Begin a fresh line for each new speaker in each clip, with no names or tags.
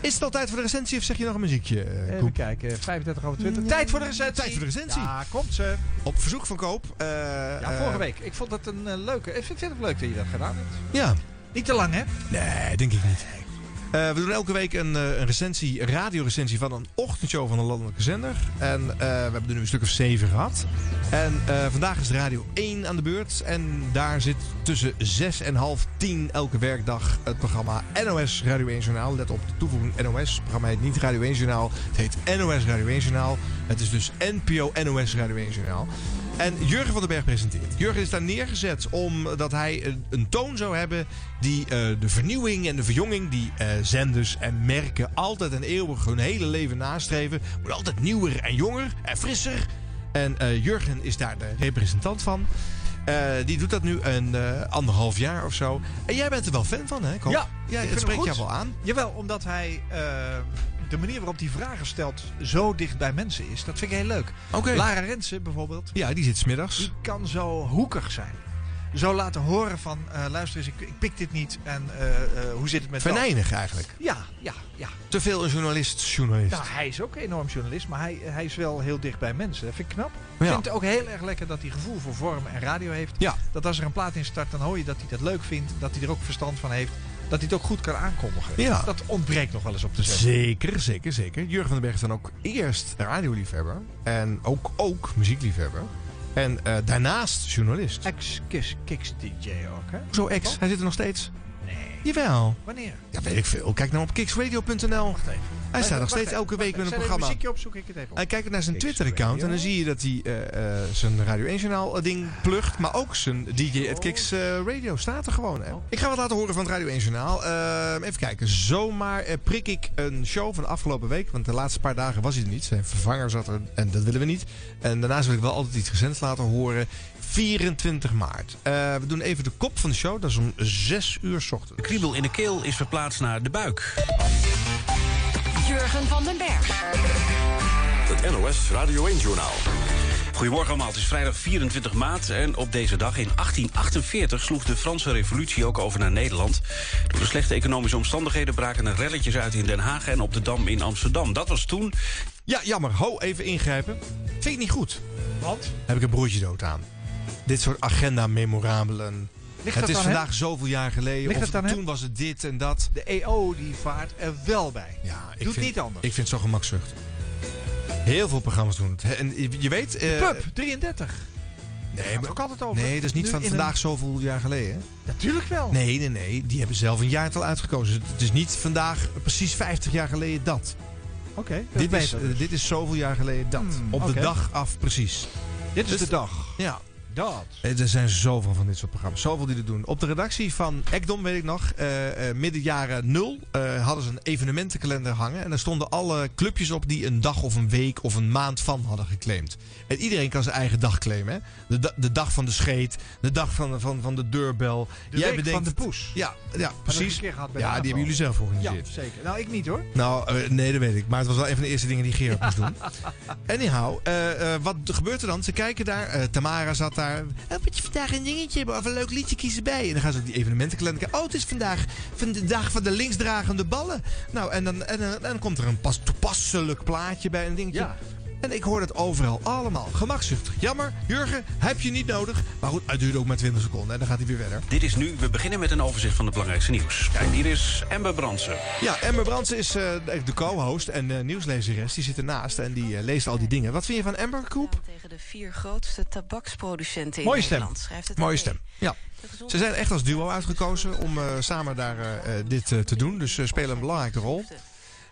Is het al tijd voor de recensie of zeg je nog een muziekje? eh,
Even
Koen?
kijken, 35 over 20.
Tijd voor de recensie. Tijd voor de recensie.
Ja, komt ze.
Op verzoek van Koop. eh,
Ja,
eh,
vorige week. Ik vond het een eh, leuke. Ik vind het leuk dat je dat gedaan hebt.
Ja.
Niet te lang, hè?
Nee, denk ik niet. Eh, we doen elke week een, eh, een recensie, een radiorecensie van een ochtendshow van een landelijke zender. En eh, we hebben er nu een stuk of zeven gehad. En eh, vandaag is Radio 1 aan de beurt. En daar zit tussen zes en half tien elke werkdag het programma NOS Radio 1 Journaal. Let op, de toevoeging NOS. Het programma heet niet Radio 1 Journaal. Het heet NOS Radio 1 Journaal. Het is dus NPO NOS Radio 1 Journaal. En Jurgen van den Berg presenteert. Jurgen is daar neergezet omdat hij een, een toon zou hebben die eh, de vernieuwing en de verjonging die eh, zenders en merken altijd en eeuwig hun hele leven nastreven. Wordt altijd nieuwer en jonger en frisser. En eh, Jurgen is daar de representant van. Eh, die doet dat nu een eh, anderhalf jaar of zo. En jij bent er wel fan van, hè? Koop?
Ja, ik vind
het
hem
spreekt
goed.
jou wel aan.
Jawel, omdat hij eh, de manier waarop hij vragen stelt zo dicht bij mensen is. Dat vind ik heel leuk.
Oké.
Lara Rensen bijvoorbeeld,
Ja, die zit smiddags.
die kan zo hoekig zijn. Zo laten horen van, eh, luister eens, ik, ik pik dit niet. En eh, eh, hoe zit het met dat?
Venijnig eigenlijk.
Ja, ja, ja.
Te veel een journalist, journalist.
Nou, hij is ook een enorm journalist, maar hij, hij is wel heel dicht bij mensen. Dat vind ik knap. Ik
Ja.
vind het ook heel erg lekker dat hij gevoel voor vorm en radio heeft.
Ja.
Dat als er een plaat in start, dan hoor je dat hij dat leuk vindt. Dat hij er ook verstand van heeft. Dat hij het ook goed kan aankondigen. Dus
Ja.
Dat ontbreekt nog wel eens op de zender.
Zeker, zeker, zeker. Jurgen van den Berg is dan ook eerst radioliefhebber. En ook, ook muziekliefhebber. En eh, daarnaast journalist.
Ex-Kiss Kicks DJ ook, hè?
Zo ex, hij zit er nog steeds.
Nee.
Jawel.
Wanneer?
Ja, weet ik veel. Kijk nou op kicksradio.nl. Hij staat nog steeds elke week met een programma.
muziekje opzoek ik het even op.
Hij kijkt naar zijn Twitter-account en dan zie je dat hij eh, eh, zijn Radio 1-journaal ding plucht. Maar ook zijn DJ at Kicks eh, Radio staat er gewoon. Hè. Ik ga wat laten horen van het Radio 1-journaal. even kijken. Zomaar eh, prik ik een show van de afgelopen week. Want de laatste paar dagen was hij er niet. Zijn vervanger zat er en dat willen we niet. En daarnaast wil ik wel altijd iets recents laten horen. 24 maart. Eh, we doen even de kop van de show. Dat is om 6 uur 's ochtends.
De kriebel in de keel is verplaatst naar de buik.
Jurgen van den Berg.
Het NOS Radio 1-journaal. Goedemorgen allemaal, het is vrijdag 24 maart en op deze dag in 1848 sloeg de Franse revolutie ook over naar Nederland. Door de slechte economische omstandigheden braken er relletjes uit in Den Haag en op de Dam in Amsterdam. Dat was toen.
Ja, jammer. Ho, even ingrijpen. Vind ik niet goed.
Want?
heb ik een broertje dood aan. Dit soort agenda-memorabelen.
Ligt
Het
dat
is
aan
vandaag zoveel jaar geleden.
Ligt
of
dat aan hem?
toen was het dit en dat.
hem? De EO die vaart er wel bij.
Ja,
Doet niet anders.
Ik vind het zo gemakzuchtig. Heel veel programma's doen het. Hè, En je- je weet... eh,
Pub, 33.
nee,
Gaat
maar-
ook altijd over.
nee, dat is niet
Nu
van
in
vandaag zoveel jaar geleden.
een- Natuurlijk wel.
Nee, nee, nee. Die hebben zelf een jaartal uitgekozen. Dus Het is niet vandaag precies 50 jaar geleden dat.
Oké. dat
Dit is,
beter
eh,
dus.
dit is zoveel jaar geleden dat.
Hmm,
Op
oké.
de dag af precies.
dit is
dus-
de dag.
Ja.
Dat.
Eh, Er zijn zoveel van dit soort programma's. Zoveel die er doen. Op de redactie van Ekdom, weet ik nog, eh, eh, midden jaren nul eh, hadden ze een evenementenkalender hangen. En daar stonden alle clubjes op die een dag of een week of een maand van hadden geclaimd. En iedereen kan zijn eigen dag claimen. Hè? De, da- de dag van de scheet, de dag van, van, van de deurbel.
De week van de poes.
Ja, ja
Hebben we een
precies.
keer gehad bij de
Ja, die hebben
AVRO.
jullie zelf
Ja,
georganiseerd.
zeker. Nou, ik niet hoor.
Nou, eh, nee, dat weet ik. Maar het was wel een van de eerste dingen die Gerard moest doen. Anyhow, eh, eh, wat gebeurt er dan? Ze kijken daar. eh, Tamara zat daar. Oh, moet je vandaag een dingetje hebben of een leuk liedje kiezen bij? En dan gaan ze op die evenementenkalender kijken. Oh, het is vandaag van de dag van de linksdragende ballen. Nou, en dan, en, dan- en dan komt er een pas, toepasselijk plaatje bij. Een dingetje.
Ja.
En ik hoor het overal allemaal. Gemakzuchtig. Jammer, Jurgen, heb je niet nodig. Maar goed, het duurde ook maar 20 seconden. En dan gaat hij weer verder.
Dit is nu. We beginnen met een overzicht van het belangrijkste nieuws. Kijk, hier is Amber Brandsen.
Ja, Emmer Brandsen is eh, de co-host en eh, nieuwslezeres. Die zit ernaast en die eh, leest al die dingen. Wat vind je van Emmer, Koep?
Tegen de vier grootste tabaksproducenten in
Mooie stem.
Nederland. Schrijft het
Mooie
AD.
stem. Ja.
De gezondheid-
Ze zijn echt als duo uitgekozen om eh, samen daar eh, eh, dit eh, te doen. Dus ze spelen een belangrijke rol.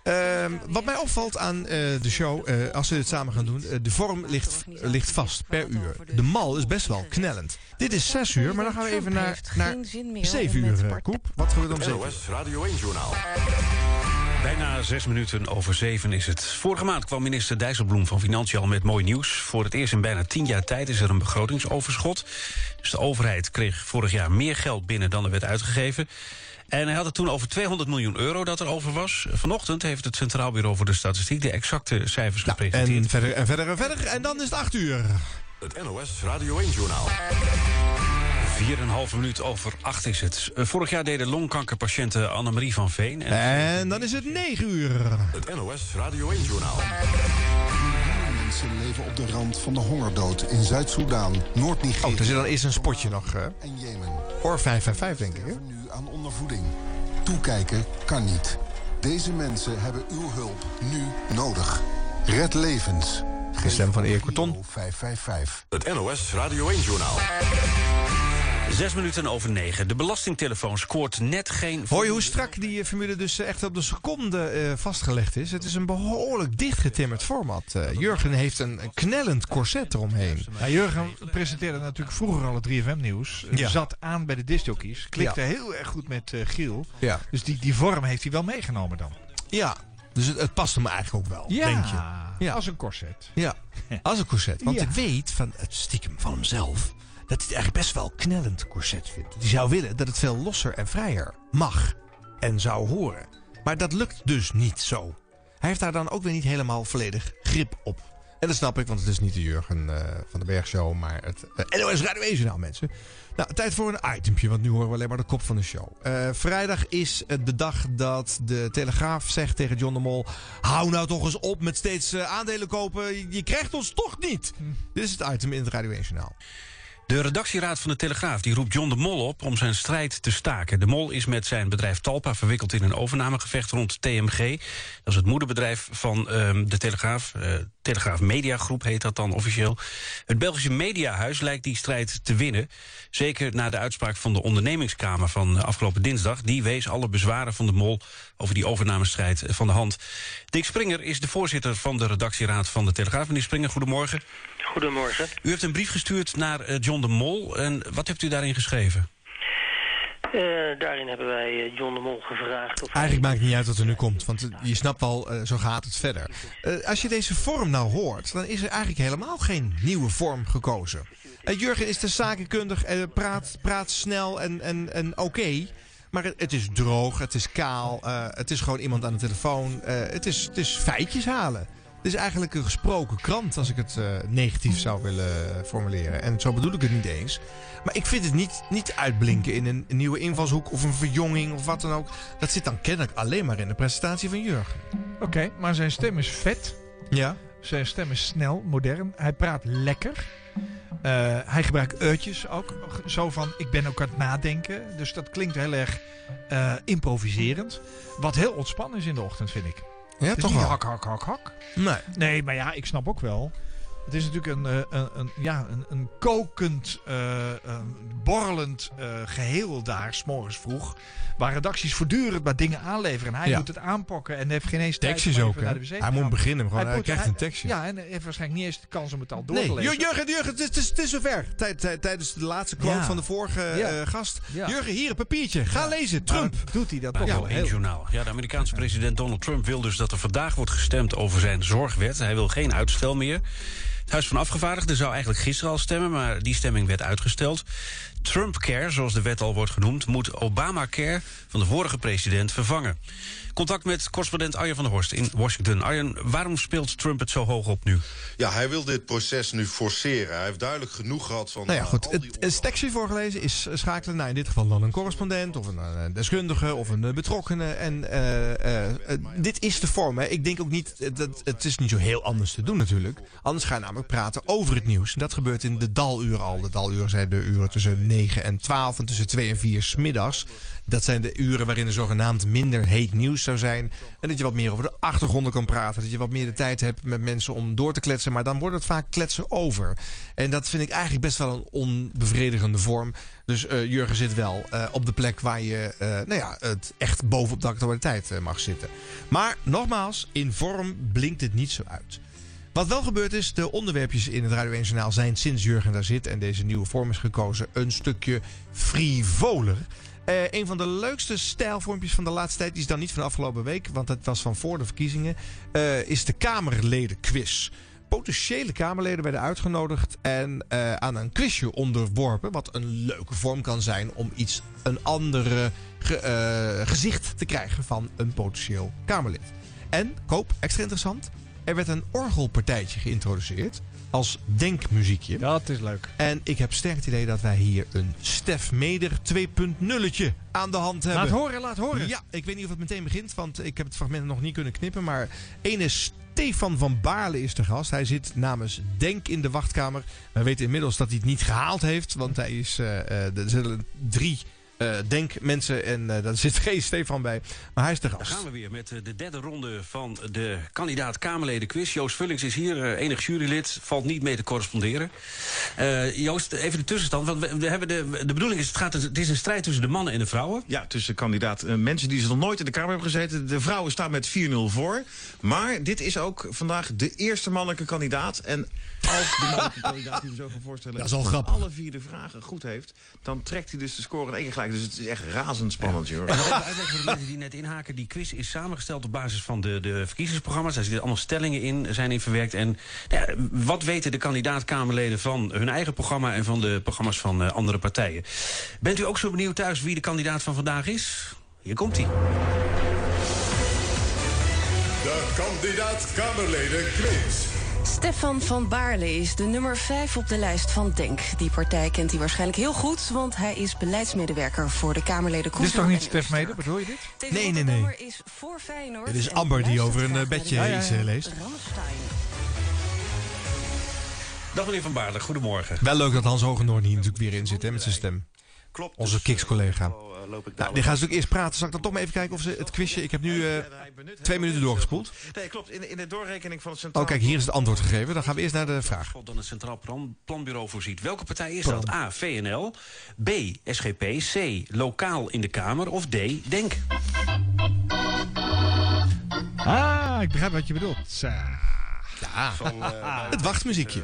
Ehm, wat mij opvalt aan eh, de show, eh, als ze dit samen gaan doen, eh, de vorm ligt, ligt vast per uur. De mal is best wel knellend. Dit is 6 uur, maar dan gaan we even naar, naar 7 uur, eh, Koep. Wat gebeurt er om 7 uur?
NOS Radio 1-journaal. Bijna zes minuten over zeven is het. Vorige maand kwam minister Dijsselbloem van Financiën al met mooi nieuws. Voor het eerst in bijna tien jaar tijd is er een begrotingsoverschot. Dus de overheid kreeg vorig jaar meer geld binnen dan er werd uitgegeven. En hij had het toen over 200 miljoen euro dat er over was. Vanochtend heeft het Centraal Bureau voor de Statistiek de exacte cijfers gepresenteerd.
En verder en verder en verder. En dan is het 8 uur.
Het NOS Radio 1-journaal.
4,5 minuut over 8 is het. Eh, Vorig jaar deden longkankerpatiënten Annemarie van Veen. En
En dan is het 9 uur.
Het NOS Radio 1-journaal.
Mensen leven op de rand van de hongerdood in Zuid-Soedan,
Oh, er
Noord-Nigeria
zit dan eerst een spotje nog. hè?
en Jemen.
Or 555, denk ik. hè?
Sterven nu aan ondervoeding. Toekijken kan niet. Deze mensen hebben uw hulp nu nodig. Red levens. Geef
stem van Erik Korton.
Giro 555.
Het NOS Radio 1-journaal.
6 minuten over 9. De belastingtelefoon scoort net geen...
Hoor je hoe strak die eh, formule dus eh, echt op de seconde eh, vastgelegd is? Het is een behoorlijk dichtgetimmerd format. Eh, Jurgen heeft een een knellend corset eromheen.
Nou, Jurgen presenteerde natuurlijk vroeger al het 3FM-nieuws.
Ja.
Zat aan bij de discjockeys. Klikte heel erg goed met eh, Giel.
Ja,
Dus die, die vorm heeft hij wel meegenomen dan.
ja. dus het, het past hem eigenlijk ook wel, denk je. Ja.
als een corset.
Ja, als een corset. Want
Ja.
ik weet van het stiekem van hemzelf dat hij het eigenlijk best wel knellend corset vindt. Die zou willen dat het veel losser en vrijer mag en zou horen. Maar dat lukt dus niet zo. Hij heeft daar dan ook weer niet helemaal volledig grip op. En dat snap ik, want het is niet de Jurgen eh, van de Bergshow, maar het eh, NOS Radio 1 journaal, mensen. Nou, tijd voor een itempje, want nu horen we alleen maar de kop van de show. Eh, vrijdag is het de dag dat de Telegraaf zegt tegen John de Mol... hou nou toch eens op met steeds eh, aandelen kopen, je, je krijgt ons toch niet. Dit is het item in het Radio nou. 1 journaal.
De redactieraad van de Telegraaf die roept John de Mol op om zijn strijd te staken. De Mol is met zijn bedrijf Talpa verwikkeld in een overnamegevecht rond TMG. Dat is het moederbedrijf van ehm, de Telegraaf. Eh, Telegraaf Media Groep heet dat dan officieel. Het Belgische Mediahuis lijkt die strijd te winnen. Zeker na de uitspraak van de ondernemingskamer van eh, afgelopen dinsdag. Die wees alle bezwaren van de Mol over die overnamestrijd eh, van de hand. Dick Springer is de voorzitter van de redactieraad van de Telegraaf. Meneer Springer, goedemorgen.
Goedemorgen.
U heeft een brief gestuurd naar eh, John de Mol. En wat hebt u daarin geschreven?
Eh, daarin hebben wij eh, John de Mol gevraagd of hij
Eigenlijk maakt het niet uit wat er nu komt, want eh, je snapt wel, eh, zo gaat het verder. Eh, als je deze vorm nou hoort, dan is er eigenlijk helemaal geen nieuwe vorm gekozen. Eh, Jurgen is te zakenkundig en praat, praat snel en, en, en oké. Maar het, het is droog, het is kaal, eh, het is gewoon iemand aan de telefoon. eh, het, is, het is feitjes halen. Het is eigenlijk een gesproken krant, als ik het eh, negatief zou willen formuleren. En zo bedoel ik het niet eens. Maar ik vind het niet, niet uitblinken in een nieuwe invalshoek of een verjonging of wat dan ook. Dat zit dan kennelijk alleen maar in de presentatie van Jurgen.
Oké, maar zijn stem is vet.
Ja.
Zijn stem is snel, modern. Hij praat lekker. Eh, hij gebruikt eurtjes ook. Zo van, ik ben ook aan het nadenken. Dus dat klinkt heel erg eh, improviserend. Wat heel ontspannen is in de ochtend, vind ik.
Ja,
Het is
toch
niet
wel.
hak, hak, hak, hak.
Nee.
Nee, maar ja, ik snap ook wel. Het is natuurlijk een, eh, een, een, ja, een, een kokend, eh, een borrelend eh, geheel daar, s'morgens vroeg. Waar redacties voortdurend maar dingen aanleveren. En hij
Ja.
moet het aanpakken en heeft geen eens tijd
Tekstjes
om
ook,
even naar
hè?
de wc te
Hij
gaan.
moet beginnen, gewoon,
Hij
hij
moet-
krijgt
hij-
een tekstje.
Ja, en hij heeft waarschijnlijk niet eens de kans om het al door
Nee,
te lezen.
Jur- Jurgen, Jurgen, het is, het is, het is zover. Tijd- tijd- Tijdens de laatste quote
Ja.
van de vorige
Ja.
eh, gast.
Ja.
Jurgen, hier een papiertje. Ga lezen.
Maar
Trump.
dan doet hij dat
Nou,
toch
ja,
wel
één
heel
journaal. Ja, de Amerikaanse president Donald Trump wil dus dat er vandaag wordt gestemd over zijn zorgwet. Hij wil geen uitstel meer. Het Huis van Afgevaardigden zou eigenlijk gisteren al stemmen, maar die stemming werd uitgesteld. Trumpcare, zoals de wet al wordt genoemd, moet Obamacare van de vorige president vervangen. Contact met correspondent Arjen van der Horst in Washington. Arjen, waarom speelt Trump het zo hoog op nu?
Ja, hij wil dit proces nu forceren. Hij heeft duidelijk genoeg gehad van.
Nou ja,
eh,
goed.
al die
Het, een tekstje voorgelezen is eh, schakelen naar in dit geval dan een correspondent of een eh, deskundige of een eh, betrokkene. En eh, eh, eh, dit is de vorm. Hè. Ik denk ook niet, eh, dat, het is niet zo heel anders te doen natuurlijk. Anders ga je namelijk praten over het nieuws. En dat gebeurt in de daluren al. De daluren zijn de uren tussen 9 en 12 en tussen 2 en 4 smiddags. Dat zijn de uren waarin er zogenaamd minder heet nieuws zou zijn. En dat je wat meer over de achtergronden kan praten. Dat je wat meer de tijd hebt met mensen om door te kletsen. Maar dan wordt het vaak kletsen over. En dat vind ik eigenlijk best wel een onbevredigende vorm. Dus eh, Jurgen zit wel eh, op de plek waar je eh, nou ja, het echt bovenop de actualiteit eh, mag zitten. Maar nogmaals, in vorm blinkt het niet zo uit. Wat wel gebeurd is, de onderwerpjes in het Radio 1 Journaal zijn sinds Jurgen daar zit en deze nieuwe vorm is gekozen een stukje frivoler. Eh, een van de leukste stijlvormpjes van de laatste tijd, die is dan niet van de afgelopen week, want dat was van voor de verkiezingen, eh, is de Kamerledenquiz. Potentiële Kamerleden werden uitgenodigd en eh, aan een quizje onderworpen, wat een leuke vorm kan zijn om iets, een andere ge- eh, gezicht te krijgen van een potentieel Kamerlid. En, koop, extra interessant, er werd een orgelpartijtje geïntroduceerd. als denkmuziekje.
Dat is leuk.
En ik heb sterk het idee dat wij hier een Stef Meder 2.0'tje aan de hand hebben.
Laat horen, laat horen.
Ja, ik weet niet of het meteen begint, want ik heb het fragment nog niet kunnen knippen. Maar ene Stefan van Baarle is de gast. Hij zit namens Denk in de wachtkamer. We weten inmiddels dat hij het niet gehaald heeft, want hij is, eh, eh, er zullen drie eh, Denk-mensen en eh, daar zit geen Stefan bij. Maar hij is de
Daar
gast.
gaan we weer met eh, de derde ronde van de kandidaat Kamerleden quiz. Joost Vullings is hier, eh, enig jurylid, valt niet mee te corresponderen. Eh, Joost, even de tussenstand. Want we, we hebben de, de bedoeling is, het, gaat, dus, het is een strijd tussen de mannen en de vrouwen.
Ja, tussen kandidaat eh, mensen die ze nog nooit in de Kamer hebben gezeten. De vrouwen staan met 4-0 voor. Maar dit is ook vandaag de eerste mannelijke kandidaat. En als de mannelijke kandidaat die we zo gaan voorstellen...
Dat is al grappig.
alle vier de vragen goed heeft... dan trekt hij dus de score in één keer gelijk. Dus het is echt razendspannend, joh.
Even uitleggen voor de mensen die net inhaken. Die quiz is samengesteld op basis van de, de verkiezingsprogramma's. Daar zitten allemaal stellingen in, zijn in verwerkt. En nou ja, wat weten de kandidaat-Kamerleden van hun eigen programma... en van de programma's van eh, andere partijen? Bent u ook zo benieuwd thuis wie de kandidaat van vandaag is? Hier komt hij.
De kandidaat Kamerleden quiz.
Stefan van Baarle is de nummer 5 op de lijst van Denk. Die partij kent hij waarschijnlijk heel goed, want hij is beleidsmedewerker voor de Kamerleden
Dit is toch niet Stef
Meder?
Meder, bedoel je dit?
Nee, nee, nee.
is voor Feyenoord.
Dit is
en
Amber die over een,
luistert
eh,
graag
bedje
naar de
iets,
band
eh, leest.
Rammstein.
Dag meneer Van Baarle, goedemorgen.
Wel leuk dat Hans Hogendoorn hier natuurlijk weer in zit hè, met zijn stem.
Klopt.
dus,
Onze
eh,
Kiks-collega. Nou, die gaan ze natuurlijk eerst praten. Zal ik dan toch maar even kijken of ze het quizje... Ik heb nu eh, twee minuten doorgespoeld.
Nee, klopt. In, de- in de doorrekening van het Centraal...
Oh, kijk, hier is het antwoord gegeven. Dan gaan we eerst naar de vraag.
God dan het Centraal Plan- Planbureau voorziet. Welke partij is dat? A. VNL. B. SGP. C. Lokaal in de Kamer. Of D. Denk.
Ah, ik begrijp wat je bedoelt. Sa.
Het wachtmuziekje.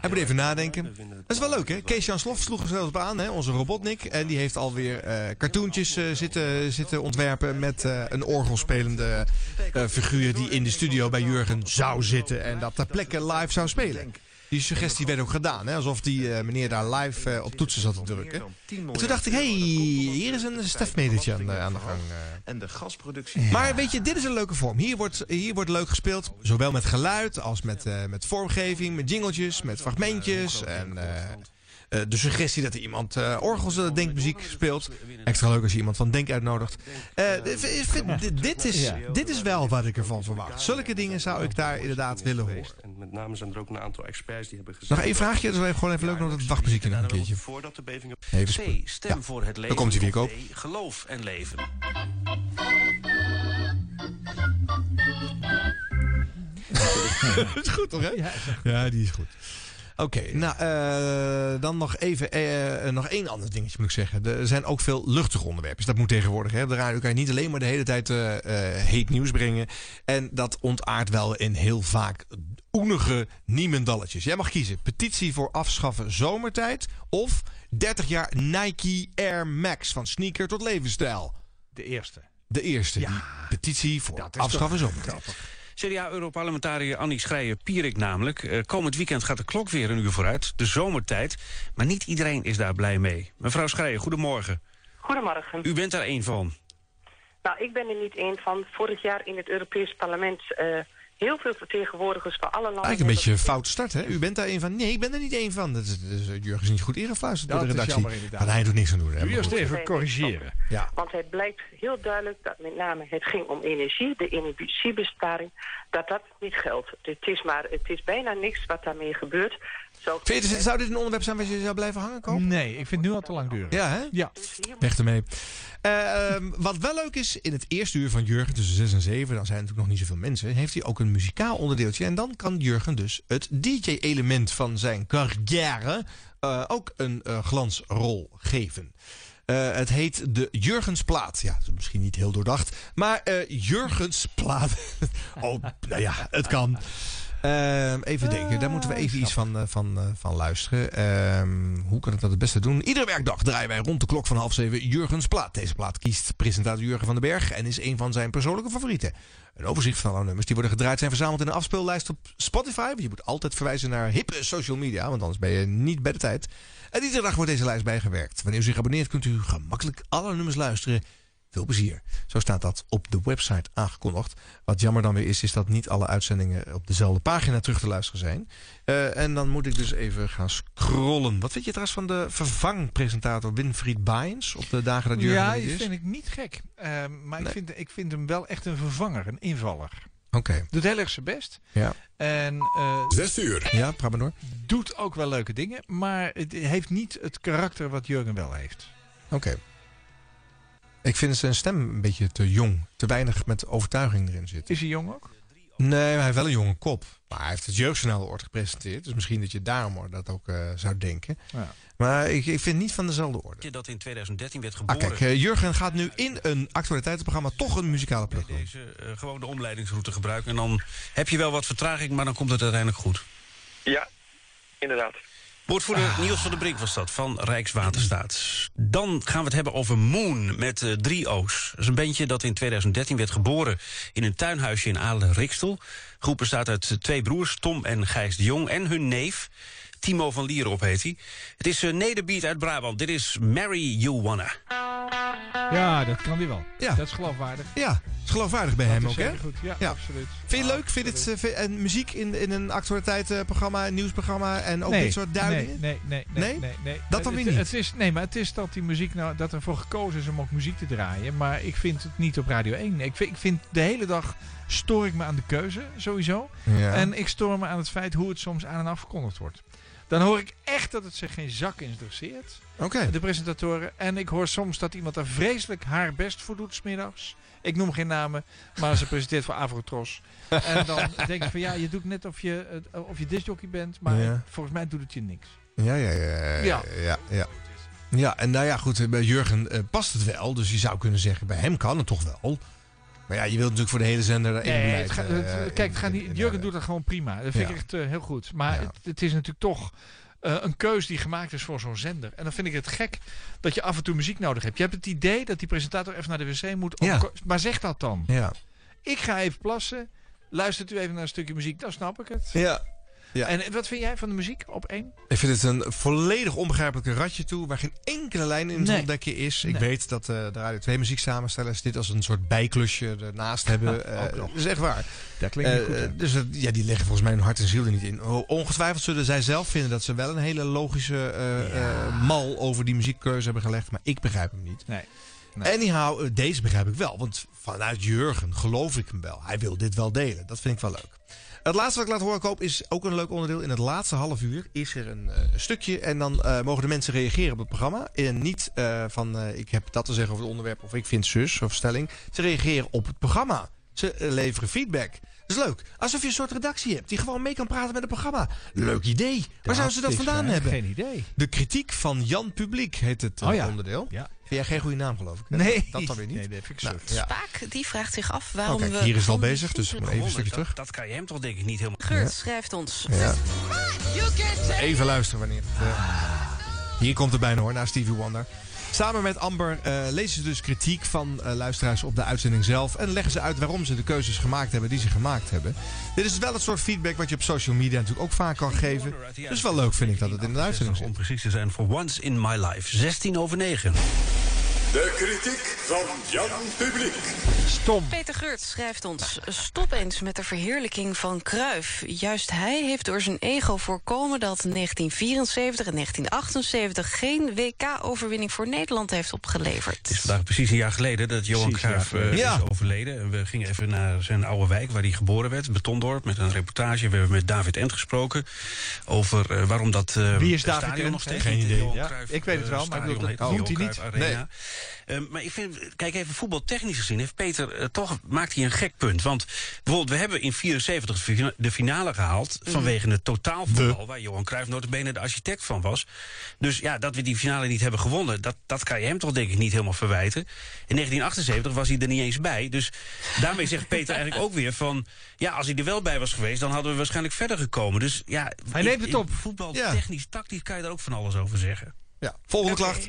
Hij moet even nadenken. Dat is wel leuk, hè? Kees-Jan Slof sloeg er zelfs op aan, hè? onze robotnik. En die heeft alweer eh cartoontjes eh, zitten, zitten ontwerpen met eh, een orgelspelende eh, figuur... die in de studio bij Jurgen zou zitten en dat ter plekke live zou spelen. Die suggestie werd ook gedaan, hè? alsof die eh, meneer daar live eh, op toetsen zat te drukken. En toen dacht ik, hé, hey, hier is een stefmedertje aan, de- aan de gang. eh.
En de gasproductie...
Maar weet je, dit is een leuke vorm. Hier wordt, hier wordt leuk gespeeld. Zowel met geluid als met, eh, met vormgeving, met jingletjes, met fragmentjes. En eh, eh, de suggestie dat er iemand eh, orgels eh, denkmuziek speelt. Extra leuk als je iemand van Denk uitnodigt. Eh, d- v- v- d- dit, is, dit is wel wat ik ervan verwacht. Zulke dingen zou ik daar inderdaad willen horen.
En met name zijn er ook een aantal experts die hebben gezegd...
Nog één vraagje. Dat is gewoon even leuk om dat wachtmuziekje nog een keertje.
Voordat de beving op...
Even sp-
C. Stem
Ja,
voor het leven.
komt hij weer, Koop.
Of D. Geloof en leven.
is goed, toch? Hè? Ja, die is goed. Oké, nou, eh, dan nog even eh, nog één ander dingetje moet ik zeggen. Er zijn ook veel luchtige onderwerpen. Dus dat moet tegenwoordig. Hè? Op de radio kan je niet alleen maar de hele tijd eh, eh, heet nieuws brengen. En dat ontaart wel in heel vaak oenige niemendalletjes. Jij mag kiezen. Petitie voor afschaffen zomertijd of 30 jaar Nike Air Max van sneaker tot levensstijl.
De eerste.
De eerste, die petitie voor afschaffen zomertijd.
CDA-Europarlementariër Annie Schreier-Pierik namelijk. Eh, komend weekend gaat de klok weer een uur vooruit, de zomertijd. Maar niet iedereen is daar blij mee. Mevrouw Schreier, goedemorgen.
Goedemorgen.
U bent daar één van.
Nou, ik ben er niet één van. Vorig jaar in het Europees Parlement... eh, heel veel vertegenwoordigers van alle landen...
Eigenlijk een beetje een fout start, hè? U bent daar een van. Nee, ik ben er niet een van. Dat is, dat is, Jurgen is niet goed ingefluisterd door
Dat
de
is
redactie.
jammer, inderdaad.
Maar hij doet niks aan doen. Hè?
Nu
Maar
eerst
goed.
even corrigeren.
Ja.
Want het blijkt heel duidelijk dat met name het ging om energie, de energiebesparing, dat dat niet geldt. Het is, maar, het is bijna niks wat daarmee gebeurt. Zo,
Vind je, zou dit een onderwerp zijn waar je zou blijven hangen, Koop?
Nee, ik vind het nu al te lang duren.
Ja, hè?
Ja.
Weg ermee. Eh, ehm, wat wel leuk is, in het eerste uur van Jurgen tussen 6 en 7, dan zijn er natuurlijk nog niet zoveel mensen, heeft hij ook een muzikaal onderdeeltje. En dan kan Jurgen dus het DJ-element van zijn carrière eh, ook een eh, glansrol geven. Eh, het heet de Jurgensplaat. Ja, dat is misschien niet heel doordacht. Maar eh, Jurgensplaat. oh, nou ja, het kan. Ehm, even denken, daar moeten we even iets van, eh, van, eh, van luisteren. Ehm, hoe kan ik dat het beste doen? Iedere werkdag draaien wij rond de klok van half zeven Jurgens Plaat. Deze plaat kiest presentator Jurgen van den Berg en is een van zijn persoonlijke favorieten. Een overzicht van alle nummers die worden gedraaid zijn verzameld in een afspeellijst op Spotify. Want je moet altijd verwijzen naar hippe social media, want anders ben je niet bij de tijd. En iedere dag wordt deze lijst bijgewerkt. Wanneer u zich abonneert kunt u gemakkelijk alle nummers luisteren Veel plezier. Zo staat dat op de website aangekondigd. Wat jammer dan weer is, is dat niet alle uitzendingen op dezelfde pagina terug te luisteren zijn. Eh, en dan moet ik dus even gaan scrollen. Wat vind je trouwens van de vervangpresentator Winfried Baens op de dagen dat Jurgen
ja,
er niet
die
is?
vind ik niet gek. Eh, maar ik, vind, ik vind hem wel echt een vervanger, een invaller.
Oké,
Doet heel erg zijn best.
ja.
En, eh,
Zes uur. Ja, praat maar door.
Doet ook wel leuke dingen, maar het heeft niet het karakter wat Jurgen wel heeft.
Oké. Ik vind zijn stem een beetje te jong. Te weinig met overtuiging erin zit.
Is hij jong ook?
Nee, hij heeft wel een jonge kop. Maar hij heeft het jeugdjournaal ooit gepresenteerd. Dus misschien dat je daarom dat ook eh, zou denken.
Ja.
Maar ik, ik vind niet van dezelfde orde.
Dat in 2013 werd
Ah,
geboren.
kijk, eh, Jurgen gaat nu in een actualiteitsprogramma toch een muzikale plek.
Deze, eh, gewoon de omleidingsroute gebruiken. En dan heb je wel wat vertraging, maar dan komt het uiteindelijk goed.
Ja, inderdaad.
Woordvoerder Niels van der Brink was dat, van Rijkswaterstaat. Dan gaan we het hebben over Moon met eh, drie O's. Dat is een bandje dat in 2013 werd geboren in een tuinhuisje in Adelen-Rikstel. De groep bestaat uit eh, twee broers, Tom en Gijs de Jong, en hun neef. Timo van Lierop heet hij. Het is eh, Nederbeat uit Brabant. Dit is Mary You Wanna.
Ja, dat kan hij wel.
Ja.
Dat is geloofwaardig.
Ja, is geloofwaardig bij
Dat
hem
is
ook, hè?
heel goed. Ja, absoluut.
Vind je het leuk? Vind je het, eh, vind- en muziek in, in een actualiteitsprogramma, een nieuwsprogramma en ook
Nee,
dit soort duidingen?
Nee, nee, nee. nee,
Nee?
nee, nee.
Dat dan
Het-
weer niet.
Het is, nee, maar het is dat die muziek nou, dat ervoor gekozen is om ook muziek te draaien. Maar ik vind het niet op Radio 1. Ik vind, ik vind de hele dag stoor ik me aan de keuze, sowieso.
Ja.
En ik stoor me aan het feit hoe het soms aan en afgekondigd wordt. Dan hoor ik echt dat het zich geen zak interesseert.
Oké.
De presentatoren. En ik hoor soms dat iemand daar vreselijk haar best voor doet, smiddags. Ik noem geen namen, maar ze presenteert voor Avrotros. En dan denk ik van ja, je doet net of je, eh, of je discjockey bent, maar
Ja.
volgens mij doet het je niks.
Ja, ja, ja. Ja,
Ja.
ja. ja. Ja, en nou ja, goed, bij Jurgen eh, past het wel. Dus je zou kunnen zeggen, bij hem kan het toch wel. Maar ja, je wilt natuurlijk voor de hele zender daar één
Nee,
beleid,
het gaat-
eh,
het- kijk, het gaat
in-
niet,
in- in-
Jurgen doet dat gewoon prima. Dat vind
Ja.
ik echt eh, heel goed. Maar
Ja.
het, het is natuurlijk toch eh, een keus die gemaakt is voor zo'n zender. En dan vind ik het gek dat je af en toe muziek nodig hebt. Je hebt het idee dat die presentator even naar de wc moet. om-
Ja.
Maar zeg dat dan.
Ja.
Ik ga even plassen. Luistert u even naar een stukje muziek, dan snap ik het.
Ja. Ja.
En wat vind jij van de muziek op één?
Ik vind het een volledig onbegrijpelijke ratje toe... waar geen enkele lijn in te
Nee.
ontdekken is. Ik
Nee.
weet dat eh, de Radio 2 muzieksamenstellers... dit als een soort bijklusje ernaast hebben. Eh
ook nog.
dat is echt waar.
Oh, Dat klinkt niet
Eh,
goed, hè?
dus dat- ja, die leggen volgens mij hun hart en ziel er niet in. O- Ongetwijfeld zullen zij zelf vinden dat ze wel een hele logische eh, eh, mal over die muziekkeuze hebben gelegd. Maar ik begrijp hem niet.
Nee.
Anyhow, eh, deze begrijp ik wel. Want vanuit Jurgen geloof ik hem wel. Hij wil dit wel delen. Dat vind ik wel leuk. Het laatste wat ik laat horen, Koop, is ook een leuk onderdeel. In het laatste half uur is er een eh, stukje. En dan eh, mogen de mensen reageren op het programma. En niet eh, van eh, ik heb dat te zeggen over het onderwerp. Of ik vind zus of stelling. Ze reageren op het programma. Ze eh, leveren feedback. Dat is leuk. Alsof je een soort redactie hebt die gewoon mee kan praten met het programma. Leuk idee. Waar zouden ze dat
is
vandaan
waar,
hebben?
Geen idee.
De kritiek van Jan Publiek heet het eh,
Oh ja.
onderdeel.
Ja.
Vind jij geen goede naam, geloof ik? hè?
Nee.
Dat dan weer niet.
Nee, dat vind ik
Nou,
suf.
ja.
Spaak die vraagt zich af waarom
Oh, kijk,
we...
hier is het al bezig, dus we moeten even een
Wonder,
stukje terug.
Dat, dat kan je hem toch denk ik niet helemaal...
Geurt schrijft ons.
Ja. Even luisteren wanneer het... eh, Hier komt er bijna hoor, naar Stevie Wonder. Samen met Amber eh, lezen ze dus kritiek van eh, luisteraars op de uitzending zelf. En leggen ze uit waarom ze de keuzes gemaakt hebben die ze gemaakt hebben. Dit is wel het soort feedback wat je op social media natuurlijk ook vaak kan geven. Dus wel leuk vind ik dat het in de uitzending zit.
Om precies te zijn, voor Once in My Life. 16 over 9.
De kritiek van Jan Publiek.
Stom.
Peter Geurt schrijft ons. Stop eens met de verheerlijking van Kruif. Juist hij heeft door zijn ego voorkomen dat 1974 en 1978 geen WK-overwinning voor Nederland heeft opgeleverd.
Het is vandaag precies een jaar geleden dat Johan
Precies een jaar
Cruijff eh,
geleden.
is
Ja.
overleden. En we gingen even naar zijn oude wijk waar hij geboren werd, Betondorp, met een reportage. We hebben met David Ent gesproken over eh, waarom dat eh,
Wie is
stadion
David Ent?
nog steeds
Geen
niet het
idee.
Johan
Ja,
Cruijff,
ik weet het
eh,
wel, maar ik bedoel,
stadion
dat
heet,
moet hij
Johan Cruijff Arena. Eh, maar ik vind, kijk even voetbaltechnisch gezien, heeft Peter eh, toch maakt hij een gek punt. Want bijvoorbeeld, we hebben in 74 fina- de finale gehaald
Mhm.
vanwege het totaalvoetbal, waar Johan Cruijff notabene de architect van was. Dus ja, dat we die finale niet hebben gewonnen, dat, dat kan je hem toch denk ik niet helemaal verwijten. In 1978 was hij er niet eens bij. Dus daarmee zegt Peter eigenlijk ook weer van, ja, als hij er wel bij was geweest, dan hadden we waarschijnlijk verder gekomen. Dus ja,
Hij
in-
neemt het
in
op.
Voetbaltechnisch, tactisch kan je daar ook van alles over zeggen.
Ja, volgende klacht.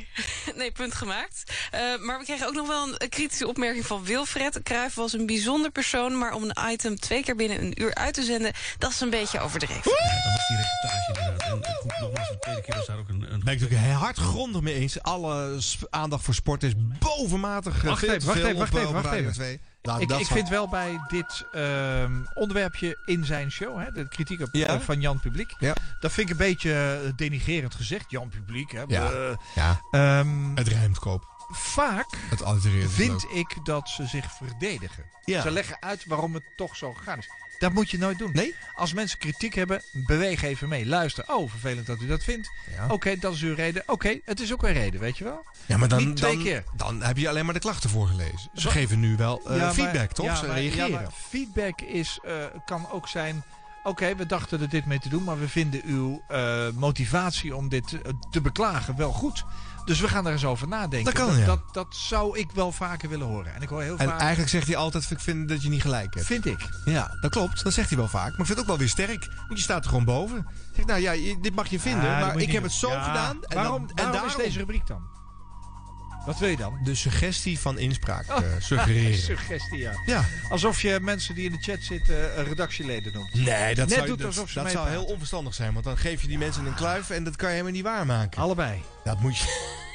Nee, punt gemaakt. Eh, maar we kregen ook nog wel een, een kritische opmerking van Wilfred. Cruijff was een bijzonder persoon, maar om een item twee keer binnen een uur uit te zenden, dat is een beetje overdreven.
Dat was die reportage inderdaad. En eh, goed, nogmaals, de tweede keer was daar ook een... een...
Ben ik natuurlijk hardgrondig mee eens. Alle sp- aandacht voor sport is bovenmatig. eh,
Wacht
veel
even,
te
wacht
veel
even, wacht
op, eh,
even,
op
wacht
Radio
even.
2. Nou,
ik
dat
ik
zal-
vind wel bij dit ehm, onderwerpje in zijn show, hè, de kritiek op,
Ja.
eh, van Jan Publiek,
Ja.
dat vind ik een beetje eh, denigerend gezegd. Jan Publiek, hè,
Ja.
bleh.
Ja,
Ehm,
het rijmt koop.
vaak
Het altereert.
vind ik dat ze zich verdedigen.
Ja.
Ze leggen uit waarom het toch zo gegaan is. Dat moet je nooit doen.
Nee?
Als mensen kritiek hebben, beweeg even mee. Luister, oh, vervelend dat u dat vindt.
Ja.
Oké, dat is uw reden. Oké, het is ook een reden, weet je wel?
Ja, maar dan,
Niet twee
dan,
keer.
dan heb je alleen maar de klachten voorgelezen. Ze
Zo-
geven nu wel eh,
Ja, maar-
feedback, toch?
ja,
Ze
maar-
reageren.
ja, maar feedback is, eh, kan ook zijn... Oké, we dachten er dit mee te doen, maar we vinden uw eh, motivatie om dit eh, te beklagen wel goed. Dus we gaan er eens over nadenken.
Dat kan,
dat,
ja.
dat, dat zou ik wel vaker willen horen. En ik hoor heel
en
vaak,
eigenlijk zegt hij altijd, ik vind dat je niet gelijk hebt.
vind ik.
Ja, dat klopt. Dat zegt hij wel vaak. Maar ik vind het ook wel weer sterk. Want je staat er gewoon boven. Je Zegt, nou ja, je- dit mag Ah, je vinden.
Ja, dat moet
maar
je
ik
niet
heb
doen.
het zo
Ja.
gedaan. En
waarom
dan, en
waarom
daarom
is deze rubriek dan? Wat wil je dan?
de suggestie van inspraak eh, suggereren.
Suggestie, Oh. ja.
ja.
Alsof je mensen die in de chat zitten eh, redactieleden noemt.
Nee, dat
Net
zou,
doet
dat,
alsof ze
dat
mee
zou
praten.
heel onverstandig zijn. Want dan geef je die mensen een kluif en dat kan je helemaal niet waarmaken.
Allebei.
Dat moet je...